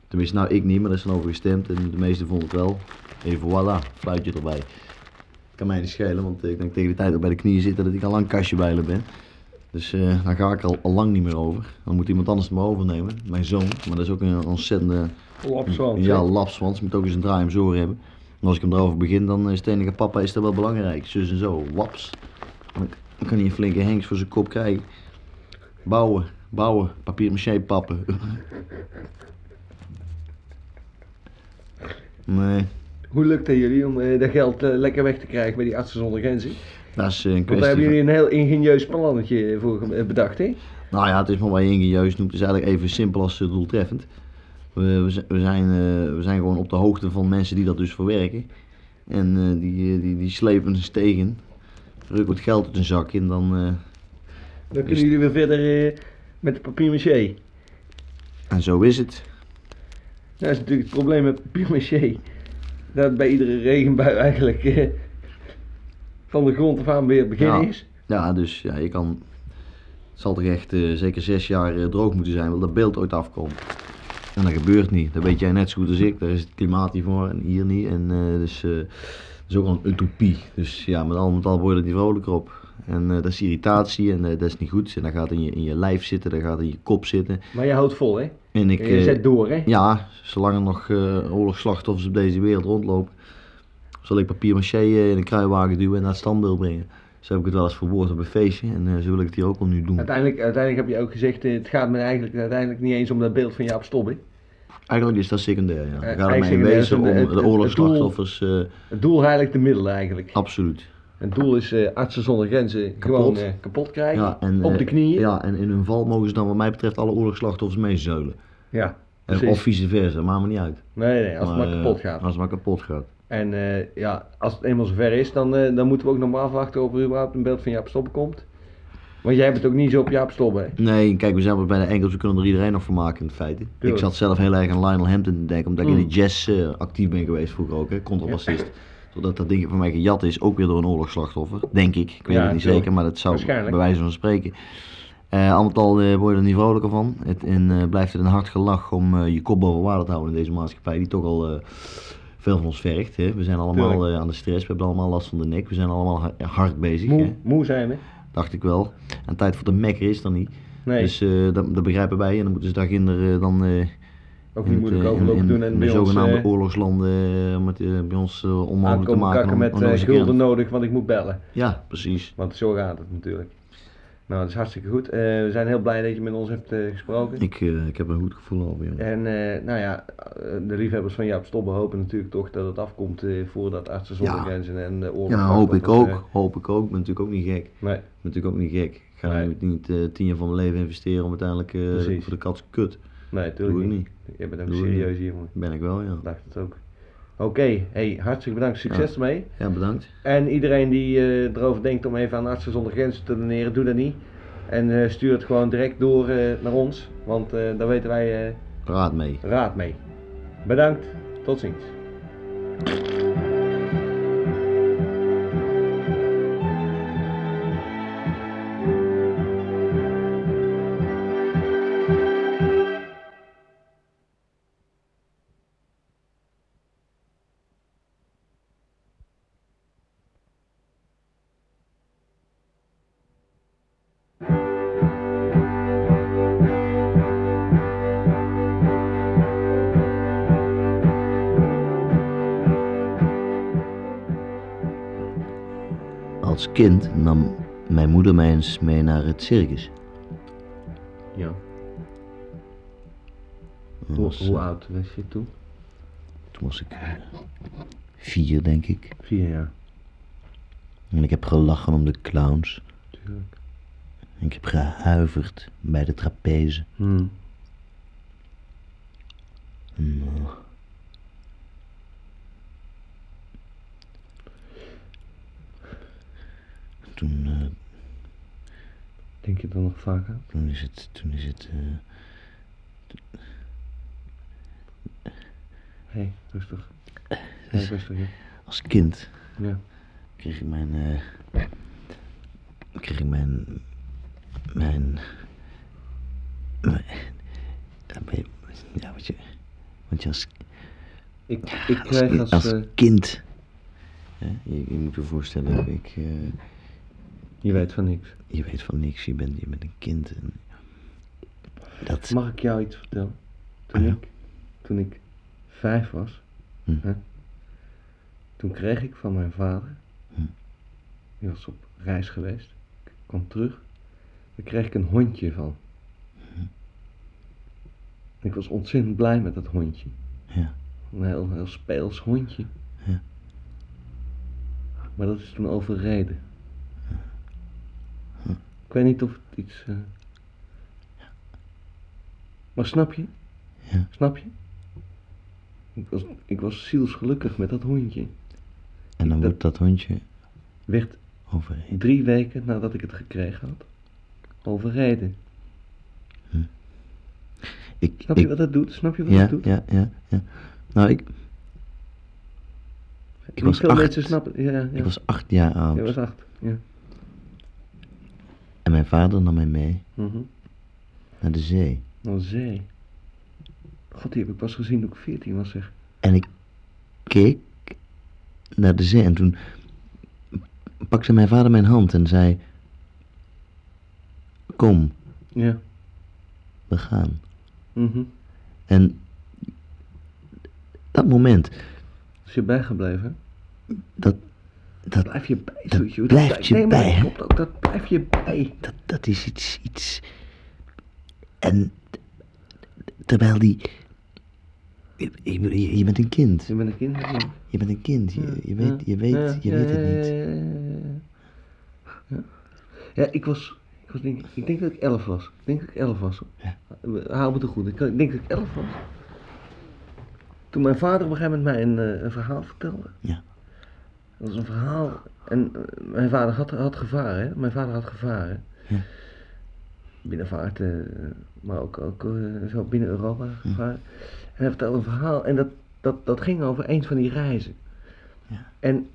A: Tenminste, nou ik niet, maar daar is dan over gestemd en de meesten vonden het wel. En voilà, fluitje erbij. kan mij niet schelen, want ik denk tegen de tijd dat ik bij de knieën zitten dat ik al lang kastje bijlen ben. Dus eh, daar ga ik al, al lang niet meer over. Dan moet iemand anders het maar overnemen, mijn zoon. Maar dat is ook een ontzettende
B: Lapswand.
A: ja,
B: hè.
A: lapswans. Moet ook eens een draai om zijn oren hebben. En als ik hem erover begin, dan is het enige papa is dat wel belangrijk. Zus en zo, waps. Dan dan kan hij een flinke hengs voor zijn kop krijgen. Bouwen, bouwen, papier maché pappen. Nee,
B: Hoe lukt het jullie om eh, dat geld eh, lekker weg te krijgen bij die artsen zonder grenzen?
A: dat is eh, een
B: Want daar
A: kwestie
B: hebben
A: van...
B: jullie een heel ingenieus plannetje voor ge- eh, bedacht, hè?
A: Nou ja, het is maar wat je ingenieus noemt. Het is eigenlijk even simpel als eh, doeltreffend. We, we, zi- we zijn, eh, we zijn gewoon op de hoogte van mensen die dat dus verwerken. En eh, die, eh, die, die slepen ze tegen. Ruk het geld uit hun zak en dan, eh, Is-
B: Dan kunnen jullie weer verder eh, met de papier maché.
A: en zo is het.
B: Dat is natuurlijk het probleem met papier maché. Dat bij iedere regenbui eigenlijk eh, van de grond af aan weer het begin
A: Ja.
B: is.
A: Ja, dus ja, je kan. Het zal toch echt eh, zeker zes jaar eh, droog moeten zijn, wil dat beeld ooit afkomt. En dat gebeurt niet. Dat weet jij net zo goed als ik. Daar is het klimaat niet voor en hier niet. En eh, dus. eh, dat is ook al een utopie. Dus ja, met al met al word je er niet vrolijker op. En eh, dat is irritatie en eh, dat is niet goed. En dat gaat in je, in je lijf zitten, dat gaat in je kop zitten.
B: Maar je houdt vol, hè?
A: En ik,
B: Je
A: eh,
B: zet door, hè?
A: ja, zolang er nog eh, oorlogsslachtoffers op deze wereld rondlopen, zal ik papier maché eh, in een kruiwagen duwen en naar het standbeeld brengen. Zo heb ik het wel eens verwoord op een feestje en eh, zo wil ik het hier ook al nu doen.
B: Uiteindelijk, uiteindelijk heb je ook gezegd, eh, het gaat me eigenlijk uiteindelijk niet eens om dat beeld van Jaap Stobbe.
A: Eigenlijk is dat secundair, ja. Het gaat er mij in
B: eigenlijk
A: wezen om
B: secundair is het-
A: de
B: het- het
A: oorlogsslachtoffers, eh,
B: Het doel heiligt de middelen eigenlijk.
A: absoluut.
B: Het doel is eh, artsen zonder grenzen gewoon eh, kapot krijgen,
A: Ja, en,
B: op
A: eh,
B: de knieën.
A: Ja, en in hun val mogen ze dan wat mij betreft alle oorlogsslachtoffers meezeulen.
B: Ja,
A: En-
B: precies.
A: Of vice versa, maakt me niet uit.
B: Nee, nee, als het
A: eh,
B: maar kapot gaat.
A: Als het maar kapot gaat.
B: En eh, ja, als het eenmaal zover is, dan, eh, dan moeten we ook nog maar afwachten of er überhaupt een beeld van Jaap Stobbe komt. Want jij bent ook niet zo op Jaap Stobbe, hè?
A: Nee, kijk, we zijn wel bij de enkels, we kunnen er iedereen nog van maken in feite. Ik
B: Tuurlijk.
A: zat zelf heel erg aan Lionel Hampton te denken, omdat ik in
B: Mm.
A: de jazz eh, actief ben geweest vroeger ook, hè, contrabassist. Zodat dat ding van mij gejat is, ook weer door een oorlogsslachtoffer, denk ik. Ik weet
B: Ja,
A: het niet
B: tuurlijk.
A: zeker, maar dat zou bij
B: Waarschijnlijk.
A: wijze van spreken. Eh al met al eh, word je er niet vrolijker van. Het, en eh, blijft het een hard gelach om eh, je kop boven water te houden in deze maatschappij, die toch al eh, veel van ons vergt. Hè. We zijn allemaal eh, aan de stress, we hebben allemaal last van de nek, we zijn allemaal ha- hard bezig, hè.
B: Moe, moe zijn, hè?
A: dacht ik wel. En tijd voor de mekker is dan niet.
B: Nee,
A: Dus eh, dat, dat begrijpen wij en dan moeten ze daar kinderen dan eh,
B: ook
A: in het,
B: niet moeilijk
A: eh, in-
B: overlopen
A: in-
B: doen en
A: in
B: bij
A: de
B: ons
A: zogenaamde
B: eh,
A: oorlogslanden eh, om het, eh, bij ons eh, onmogelijk te
B: aankomen
A: maken.
B: kakken
A: om-
B: met
A: om nog
B: eh,
A: eens een keer
B: gulden
A: aan-
B: nodig, want ik moet bellen.
A: Ja, precies.
B: Want zo gaat het natuurlijk. Nou, dat is hartstikke goed. Eh, we zijn heel blij dat je met ons hebt eh, gesproken.
A: Ik, eh, ik heb een goed gevoel over, jongen.
B: En eh, nou ja, eh, de liefhebbers van Jaap Stobbe hopen natuurlijk toch dat het afkomt eh, voordat artsen zonder
A: Ja.
B: grenzen en eh, de oorlog.
A: Ja, hoop ik ook. Hoop ik ook. Ik ben natuurlijk ook niet gek. Ik
B: Eh, nee,
A: ben natuurlijk ook niet gek. Ik ga
B: Nee.
A: nu niet eh, tien jaar van mijn leven investeren om uiteindelijk eh,
B: Precies.
A: voor de katse kut.
B: nee,
A: Dat
B: tuurlijk
A: doe ik
B: niet.
A: niet.
B: Je bent ook
A: Doe ik
B: serieus hier, man.
A: Ben ik wel, ja.
B: Ik dacht het ook. Oké, hey, hartstikke bedankt. Succes
A: Ja.
B: ermee.
A: Ja, bedankt.
B: En iedereen die eh, erover denkt om even aan Artsen zonder Grenzen te doneren, doe dat niet. En eh, stuur het gewoon direct door eh, naar ons, want eh, daar weten wij eh,
A: Praat mee.
B: raad mee. Bedankt, tot ziens.
A: Als kind nam mijn moeder mij eens mee naar het circus.
B: Ja.
A: Dat
B: Hoe,
A: was,
B: hoe
A: eh,
B: oud was je toen?
A: Toen was ik eh, vier, denk ik.
B: Vier jaar.
A: En ik heb gelachen om de clowns.
B: Tuurlijk.
A: En ik heb gehuiverd bij de trapeze.
B: Hm.
A: En, eh, Toen, eh,
B: Denk je dan nog vaak aan?
A: toen is het, toen is het, eh,
B: Hé, hey, rustig. Hey, rustig, ja.
A: als kind
B: ja.
A: kreeg ik mijn, eh, kreeg ik mijn, mijn, mijn- ja, ben je- ja, wat je, wat je als
B: Ik, ik
A: Als,
B: krijg als...
A: als
B: eh,
A: kind. Hè, je, je moet je voorstellen, ik, eh,
B: je weet van niks.
A: je weet van niks, je bent, je bent een kind. En dat,
B: Mag ik jou iets vertellen? Toen,
A: Ja.
B: ik, toen ik vijf was,
A: Hm.
B: hè, toen kreeg ik van mijn vader,
A: Hm.
B: die was op reis geweest, ik kwam terug, daar kreeg ik een hondje van.
A: Hm.
B: Ik was ontzettend blij met dat hondje.
A: Ja.
B: Een heel, heel speels hondje.
A: Ja.
B: Maar dat is toen overreden.
A: Hm.
B: Ik weet niet of het iets... eh, Maar snap je?
A: Ja.
B: Snap je? Ik was, ik was zielsgelukkig met dat hondje.
A: en dan
B: dat-
A: wordt dat hondje
B: Werd
A: overheen.
B: drie weken nadat ik het gekregen had, overreden.
A: Ik,
B: Snap
A: ik,
B: je wat dat doet? Snap je wat
A: ja,
B: dat doet?
A: ja, ja, ja. Nou, ik,
B: Niet
A: was
B: veel
A: acht.
B: mensen snappen. Ja, ja.
A: ik was acht jaar oud.
B: Je was acht. Ja.
A: En mijn vader nam mij mee
B: Mhm.
A: naar de zee.
B: Een zee. God, die heb ik pas gezien toen ik 14 was, zeg.
A: En ik keek naar de zee. En toen pakte mijn vader mijn hand en zei... Kom,
B: Ja.
A: we gaan.
B: Mhm.
A: En dat moment,
B: Is je bijgebleven? hè?
A: dat,
B: Dat
A: dat,
B: blijf je bij,
A: dat
B: zoetje, hoor.
A: blijft je
B: nee, maar
A: bij,
B: dat
A: hè?
B: klopt ook, dat blijf je bij.
A: dat, dat is iets, iets. En terwijl die. Je, je- je bent een kind.
B: Je bent een kind. hè?
A: Je bent een kind.
B: Ja,
A: Je, je weet, je
B: ja, ja,
A: weet, je
B: ja,
A: weet
B: ja,
A: het niet.
B: Ja, ja, ja, ja. Ja, ik was, ik was denk, ik denk dat ik elf was. Ik denk dat ik elf was. We- Hou me te goed. Ik, ik denk dat ik elf was. Toen mijn vader op een gegeven moment mij een, eh, een verhaal vertelde.
A: Ja.
B: Dat was een verhaal. En eh, mijn vader had, had gevaren. hè. Mijn vader had gevaren.
A: Ja.
B: Binnenvaart, eh, maar ook, ook eh, zo binnen Europa
A: Hm.
B: gevaren. En hij vertelde een verhaal. En dat, dat, dat ging over een van die reizen. En,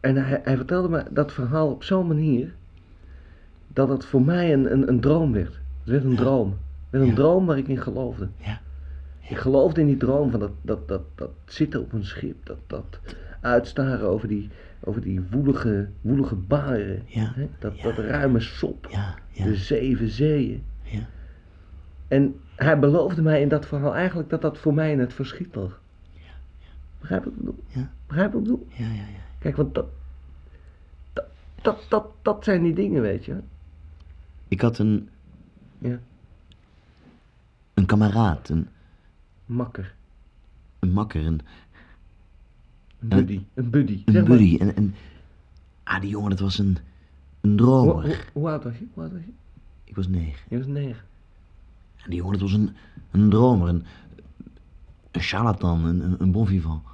B: en hij, hij vertelde me dat verhaal op zo'n manier dat het voor mij een, een, een droom werd. Het werd een droom. Het werd een
A: Ja.
B: droom waar ik in geloofde.
A: Ja.
B: Ik geloofde in die droom van dat, dat, dat, dat zitten op een schip, dat, dat uitstaren over die, over die woelige, woelige baren,
A: Ja,
B: hè? Dat,
A: ja.
B: dat ruime sop,
A: Ja, ja,
B: de zeven zeeën.
A: ja.
B: En hij beloofde mij in dat verhaal eigenlijk dat dat voor mij in het verschiet lag. Begrijp ik wat ik bedoel?
A: Ja.
B: Begrijp ik wat ik bedoel?
A: Ja, ja, ja.
B: Kijk, want dat, dat, dat, dat, dat zijn die dingen, weet je.
A: Ik had een,
B: Ja,
A: een kameraad, een,
B: makker,
A: een makker, een,
B: een buddy, een buddy.
A: een
B: Zeg maar,
A: buddy. En, en, ah, die jongen, dat was een, een
B: Hoe, hoe,
A: dromer.
B: hoe oud was je? Hoe oud was je?
A: Ik was negen.
B: Je was negen.
A: En die jongen, dat was een, een dromer, een, een charlatan, een, een, een bon vivant.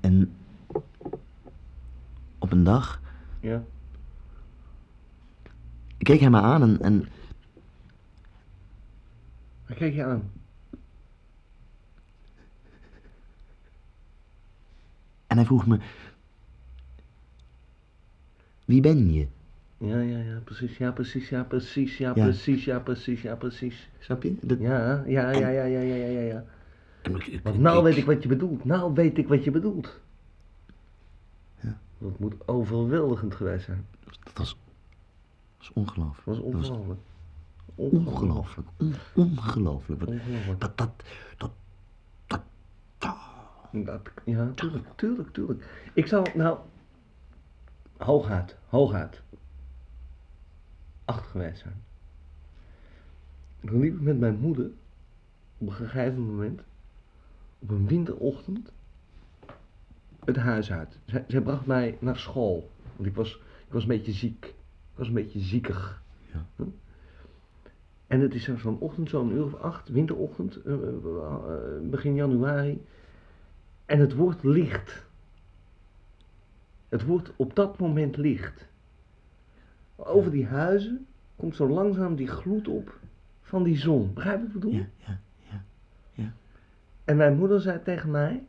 A: En op een dag
B: Ja.
A: keek hij me aan en, en
B: Waar kijk je aan?
A: En hij vroeg me: Wie ben je?
B: Ja, ja, ja, precies, ja, precies, ja, precies, ja,
A: Ja.
B: precies, ja, precies, ja, precies.
A: Snap je? Dat...
B: Ja, ja, ja, ja, ja, ja, ja, ja, ja.
A: En ik- ik-
B: Want nou
A: ik-
B: weet ik wat je bedoelt, nou weet ik wat je bedoelt.
A: Ja.
B: Dat moet overweldigend geweest zijn.
A: Dat was, was ongelooflijk.
B: Dat was
A: Dat was
B: ongelooflijk.
A: ongelooflijk. On- Ongelooflijk. Wat-
B: Ongelooflijk.
A: Dat, dat, dat, dat, dat.
B: Dat, ja, tuurlijk, tuurlijk, tuurlijk. Ik zou, nou, hooguit, hooguit. Acht geweest zijn. Dan liep ik met mijn moeder op een gegeven moment, op een winterochtend, het huis uit. Zij, zij bracht mij naar school, want ik was, ik was een beetje ziek. Ik was een beetje ziekig.
A: Ja.
B: Hm? En het is zo- zo'n ochtend, zo'n uur of acht, winterochtend, eh, eh, eh, begin januari. En het wordt licht. Het wordt op dat moment licht. Over die huizen komt zo langzaam die gloed op van die zon. Begrijp je wat ik bedoel?
C: Ja, ja.
B: En mijn moeder zei tegen mij.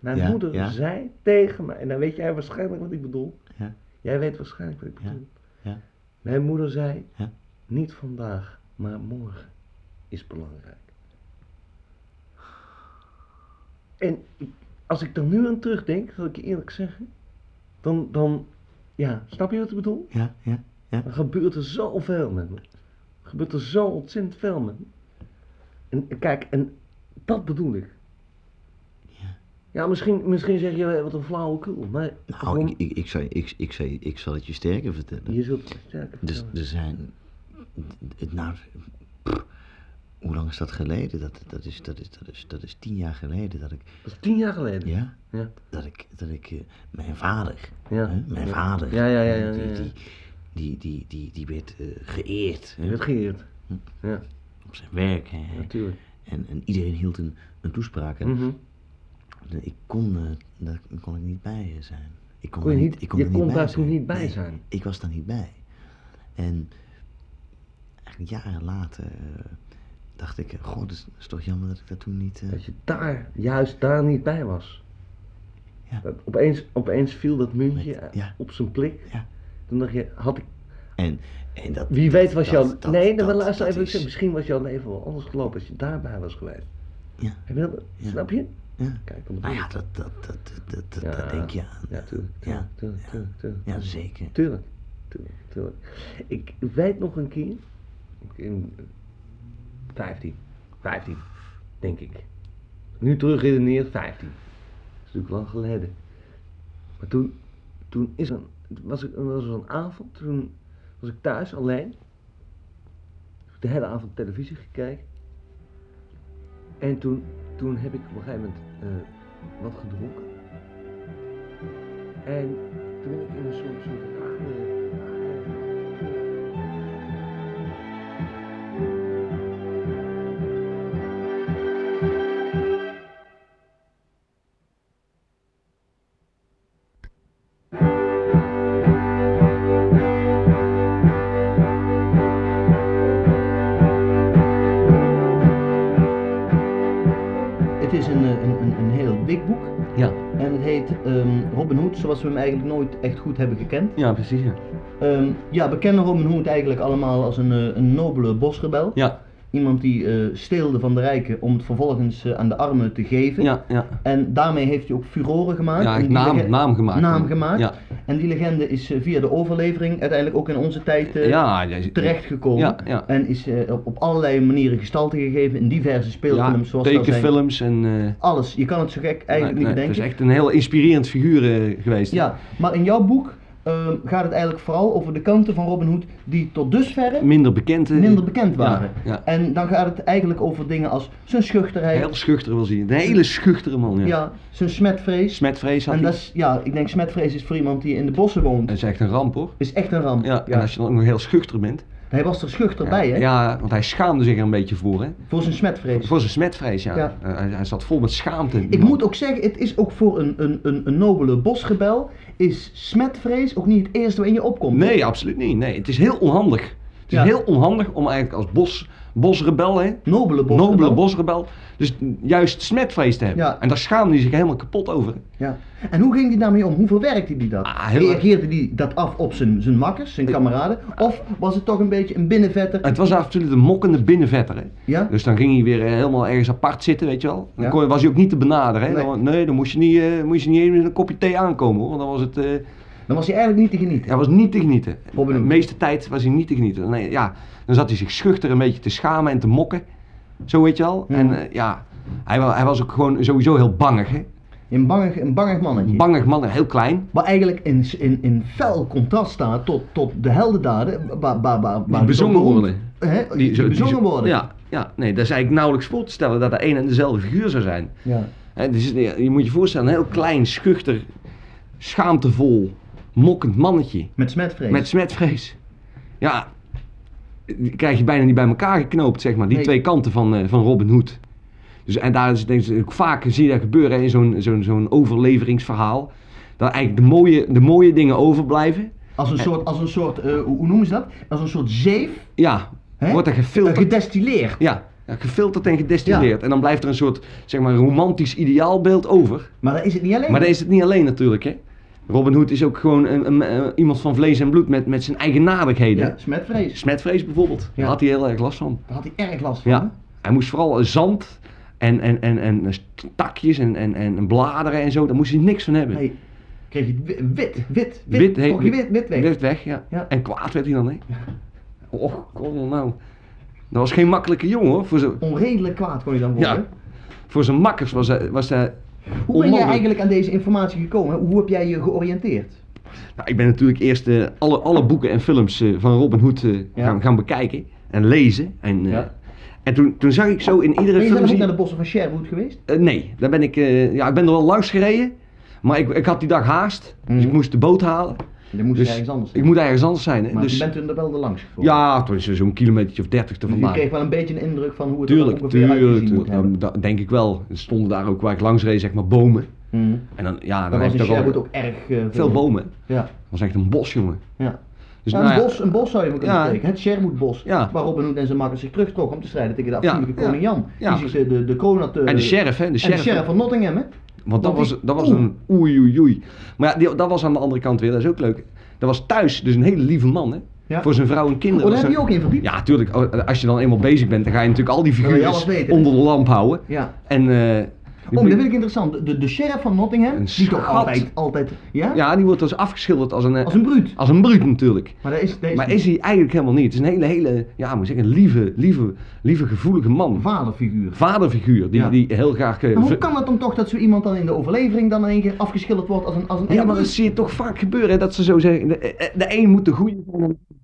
B: Mijn
A: Ja,
B: moeder
A: ja.
B: zei tegen mij. En dan weet jij waarschijnlijk wat ik bedoel.
A: Ja.
B: Jij weet waarschijnlijk wat ik
A: Ja,
B: bedoel.
A: ja.
B: Mijn moeder zei.
A: Ja.
B: Niet vandaag, maar morgen is belangrijk. En ik- als ik er nu aan terugdenk, zal ik je eerlijk zeggen. Dan, dan, ja, snap je wat ik bedoel?
A: Ja, ja.
B: Er gebeurt er zoveel met me. Er gebeurt er zo ontzettend veel met me. En en kijk, en dat bedoel ik. Ja, misschien, misschien zeg je eh, wat een flauwekul, maar
A: Nou,
B: gewoon-
A: ik, ik, ik, zou, ik, ik, zou, ik zal het je sterker vertellen.
B: je zult het sterker
A: Dus
B: vertellen.
A: er zijn. Het, nou, pff, hoe lang is dat geleden? Dat, dat, is, dat, is, dat, is, dat is tien jaar geleden dat ik.
B: Dat is tien jaar geleden.
A: Ja?
B: Ja.
A: Dat ik. Dat ik eh, mijn vader.
B: Ja.
A: Hè? Mijn
B: Ja.
A: vader.
B: Ja, ja, ja,
A: eh,
B: ja, ja,
A: Die,
B: ja.
A: die, die, die, die, die werd eh, geëerd hè,
B: Je bent geëerd. Ja,
A: op zijn werk. hè.
B: natuurlijk.
A: En, en iedereen hield een, een toespraak. En
B: Mhm.
A: ik kon, eh, daar kon ik niet bij eh, zijn. Ik kon,
B: Kon je
A: er
B: niet-
A: ik kon
B: je
A: er niet
B: kon
A: bij
B: daar
A: zijn.
B: toen niet bij
A: Nee,
B: zijn?
A: Ik was daar niet bij. En eigenlijk jaren later eh, dacht ik, eh, goh, dat is, is toch jammer dat ik daar toen niet. eh,
B: Dat je daar, juist daar niet bij was.
A: Ja.
B: Dat opeens, opeens viel dat muntje
A: Met- ja.
B: op zijn plek.
A: Ja.
B: Toen dacht je, had ik
A: en, en dat,
B: Wie
A: dat-
B: weet was
A: dat-
B: jouw...
A: dat-
B: nee, dan
A: dat-
B: luister
A: dat
B: even. ik zeg,
A: is-
B: Misschien was jouw leven wel anders gelopen als je daarbij was geweest.
A: Ja.
B: Heb je dat,
A: Ja.
B: Snap je?
A: Ja.
B: Kijk, dan
A: Nou ja, dat, dat, dat, dat, dat, dat- daar denk je aan.
B: Ja, tuurlijk.
A: Ja.
B: Tuurlijk, tuurlijk, tuurlijk, tuurlijk.
A: Ja, zeker.
B: Tuurlijk, tuurlijk, tuurlijk. Ik weet nog een keer, ik in 15, 15, denk ik. Nu terugredeneer, 15. Dat is natuurlijk lang geleden. Maar toen, toen is er, was, ik, was er een avond, toen was ik thuis alleen. Heb ik De hele avond televisie gekeken. En toen, toen heb ik op een gegeven moment eh, wat gedronken. En toen ben ik in een soort, soort rare- rare-
C: Het is een, eh, een, een, een heel dik boek.
B: Ja,
C: En het heet ehm, Robin Hood, zoals we hem eigenlijk nooit echt goed hebben gekend.
B: ja, precies. Ja.
C: Ehm, ja, we kennen Robin Hood eigenlijk allemaal als een, eh, een nobele bosrebel.
B: Ja,
C: Iemand die eh, steelde van de rijken om het vervolgens eh, aan de armen te geven.
B: ja, ja.
C: En daarmee heeft hij ook furoren gemaakt.
B: Ja,
C: En
B: echt
C: die
B: naam,
C: lege-
B: naam gemaakt.
C: naam gemaakt.
B: Ja,
C: En die legende is eh, via de overlevering uiteindelijk ook in onze tijd eh,
B: ja, ja,
C: terechtgekomen.
B: Ja, ja.
C: En is eh, op, op allerlei manieren gestalte gegeven in diverse speelfilms.
B: ja,
C: zoals dat zijn.
B: tekenfilms en... eh,
C: Alles. Je kan het zo gek
B: nee,
C: eigenlijk
B: nee,
C: niet
B: het is
C: bedenken.
B: echt een heel inspirerend figuur eh, geweest.
C: Ja, maar in jouw boek ehm, gaat het eigenlijk vooral over de kanten van Robin Hood die tot dusverre
B: Minder bekend. eh,
C: minder bekend waren.
B: Ja, ja.
C: En dan gaat het eigenlijk over dingen als zijn schuchterheid,
B: Heel schuchter was hij. Een hele schuchtere man. Ja.
C: ja, zijn smetvrees.
B: Smetvrees had
C: en
B: hij.
C: dat is, ja, ik denk smetvrees is voor iemand die in de bossen woont.
B: Dat is echt een ramp hoor.
C: Is echt een ramp.
B: Ja, en als je dan ook nog heel schuchter bent.
C: Hij was er schuchter bij, hè?
B: Ja, want hij schaamde zich er een beetje voor hè.
C: Voor zijn smetvrees.
B: Voor zijn smetvrees ja.
C: Ja.
B: Eh, Hij, hij zat vol met schaamte. die
C: Ik
B: man.
C: moet ook zeggen, het is ook voor een, een, een, een nobele bosgebel, is smetvrees ook niet het eerste wat in je opkomt.
B: Nee, absoluut niet. Nee, het is heel onhandig. Het is
C: Ja.
B: heel onhandig om eigenlijk als bos, bosrebel, hè,
C: Nobele bosgebel.
B: nobele bosrebel, dus juist smetvrees te hebben.
C: Ja.
B: En daar schaamde hij zich helemaal kapot over.
C: Ja. En hoe ging hij daarmee om? Hoe verwerkte hij dat?
B: Ah, heel erg.
C: Reageerde hij dat af op zijn, zijn makkers, zijn kameraden? Of was het toch een beetje een binnenvetter?
B: Het was absoluut een mokkende binnenvetter. Hè.
C: Ja?
B: Dus dan ging hij weer eh, helemaal ergens apart zitten, weet je wel. Dan
C: Ja.
B: kon, was hij ook niet te benaderen. Hè.
C: Nee.
B: Dan, nee, dan moest je niet, eh, moest je niet eens met een kopje thee aankomen hoor. Want dan was het, eh,
C: Dan was hij eigenlijk niet te genieten.
B: hij was niet te genieten.
C: Robin
B: de
C: Hood.
B: meeste tijd was hij niet te genieten. Nee, ja, dan zat hij zich schuchter een beetje te schamen en te mokken. Zo weet je wel.
C: Ja.
B: En eh, ja, hij, wa- hij was ook gewoon sowieso heel bangig hè.
C: Een bangig, een bangig mannetje.
B: Een bangig man, heel klein.
C: Wat eigenlijk in, in, in fel contrast staat tot, tot de heldendaden. Waar, waar, waar, waar
B: Die bezongen
C: beroemd-
B: worden.
C: Hè? Die,
B: zo-
C: bezongen
B: zo-
C: worden.
B: Ja, ja, nee, dat is eigenlijk nauwelijks voor te stellen dat dat één en dezelfde figuur zou zijn.
C: Ja.
B: Hè, dus, ja, je moet je voorstellen, een heel klein, schuchter, schaamtevol, mokkend mannetje
C: Met smetvrees.
B: met smetvrees. Ja, die krijg je bijna niet bij elkaar geknoopt, zeg maar, die
C: Nee.
B: twee kanten van, eh, van Robin Hood. Dus, en daar is, denk ik, ook vaak zie je dat gebeuren in zo'n zo'n zo'n overleveringsverhaal. Dat eigenlijk de mooie, de mooie dingen overblijven.
C: Als een soort, als een soort eh, hoe hoe noemen ze dat? Als een soort zeef.
B: Ja,
C: Hè?
B: wordt er
C: eh,
B: gefilterd.
C: gedestilleerd.
B: Ja, ja, gefilterd en gedestilleerd. En dan blijft er een soort zeg maar, romantisch ideaalbeeld over.
C: Maar dat is het niet alleen.
B: Maar dat is het niet alleen natuurlijk, hè. Robin Hood is ook gewoon een, een, eh, iemand van vlees en bloed met, met zijn eigenaardigheden.
C: ja, smetvrees.
B: Smetvrees bijvoorbeeld, daar
C: Ja.
B: had hij heel erg last van.
C: Daar had hij erg last van.
B: Ja. Hij moest vooral eh, zand en, en, en, en st- takjes en, en, en bladeren en zo, daar moest hij niks van hebben.
C: Nee, kreeg je wit, wit, wit.
B: Wit, heet-
C: Trok je wit, wit weg.
B: Werd weg, ja.
C: Ja.
B: En kwaad werd hij dan, hè. Och, kom dan nou. Dat was geen makkelijke jongen, hoor. Voor zijn,
C: Onredelijk kwaad kon je dan worden.
B: Ja. voor zijn makkers was hij... Was hij
C: Hoe ben jij
B: onmogelijk.
C: eigenlijk aan deze informatie gekomen? Hoe heb jij je georiënteerd?
B: Nou, ik ben natuurlijk eerst eh, alle, alle boeken en films eh, van Robin Hood eh,
C: Ja.
B: gaan, gaan bekijken en lezen. En, eh,
C: Ja.
B: en toen, toen zag ik zo in iedere
C: Ben je
B: film.
C: zelf ook
B: zie-
C: naar de bossen van Sherwood geweest?
B: Eh, nee, daar ben ik, eh, ja, ik ben er wel langs gereden. Maar ik, ik had die dag haast, dus
C: Mhm.
B: ik moest de boot halen.
C: Dan moest
B: Dus
C: je ergens anders zijn.
B: Ik moet ergens anders zijn. Hè?
C: Maar
B: dus,
C: je bent toen er wel er langs gekomen.
B: ja, toen is er zo'n kilometertje of dertig er
C: Dus je
B: vandaan.
C: kreeg wel een beetje een indruk van hoe het er
B: Tuurlijk,
C: ongeveer uitgezien
B: tuurlijk,
C: moet
B: tuurlijk.
C: hebben.
B: Nou, dat denk ik wel. Er stonden daar ook waar ik langs reed, zeg maar, bomen.
C: Mhm.
B: En dan, ja,
C: Dat
B: dan
C: was
B: heb
C: in
B: je toch
C: Sherwood
B: wel
C: ook erg eh,
B: veel bomen.
C: Ja.
B: Dat was echt een bos, jongen.
C: Ja.
B: Dus,
C: Ja,
B: nou
C: een,
B: ja,
C: bos, een bos zou je maar kunnen
B: Ja.
C: spreken. Het Sherwoodbos,
B: Ja.
C: waar Robin Hood en zijn makkers zich terugtrok om te strijden tegen de
B: Ja,
C: afschuwelijke
B: ja.
C: koning Jan.
B: Ja.
C: Die zich de, de, de kroon had, eh,
B: En de sheriff, hè? De
C: en de
B: sheriff,
C: sheriff van Nottingham, hè?
B: Want dat
C: Want
B: was,
C: die-
B: dat was een oei oei oei. Maar ja, die- dat was aan de andere kant weer, dat is ook leuk. Dat was thuis, dus een hele lieve man hè.
C: Ja.
B: Voor zijn vrouw en kinderen.
C: Oh, daar
B: Dat
C: heb je
B: was
C: ook in
B: een-
C: verdiept.
B: Ja, tuurlijk. Oh, Als je dan eenmaal bezig bent, dan ga je natuurlijk al die
C: wil je alles
B: figuren
C: weten.
B: onder de lamp houden.
C: Ja.
B: En, eh, die-
C: Oh, maar dat vind ik interessant. De, de, de sheriff van Nottingham,
B: Een
C: die toch
B: schat.
C: altijd, altijd ja?
B: ja, die wordt dus afgeschilderd als een, eh,
C: als een bruut.
B: als een bruut natuurlijk.
C: Maar dat is, dat is,
B: Maar is hij eigenlijk helemaal niet. Het is een hele, hele, ja, moet ik zeggen, lieve, lieve, lieve gevoelige
C: een
B: man.
C: vaderfiguur.
B: Vaderfiguur, die,
C: Ja.
B: die heel graag... eh,
C: Maar hoe
B: ver-
C: kan het dan toch dat zo iemand dan in de overlevering dan in één keer afgeschilderd wordt als een als een
B: Ja, maar
C: bruut?
B: eh, dat zie je toch vaak gebeuren, hè, dat ze zo zeggen, de, de een moet de goede zijn en de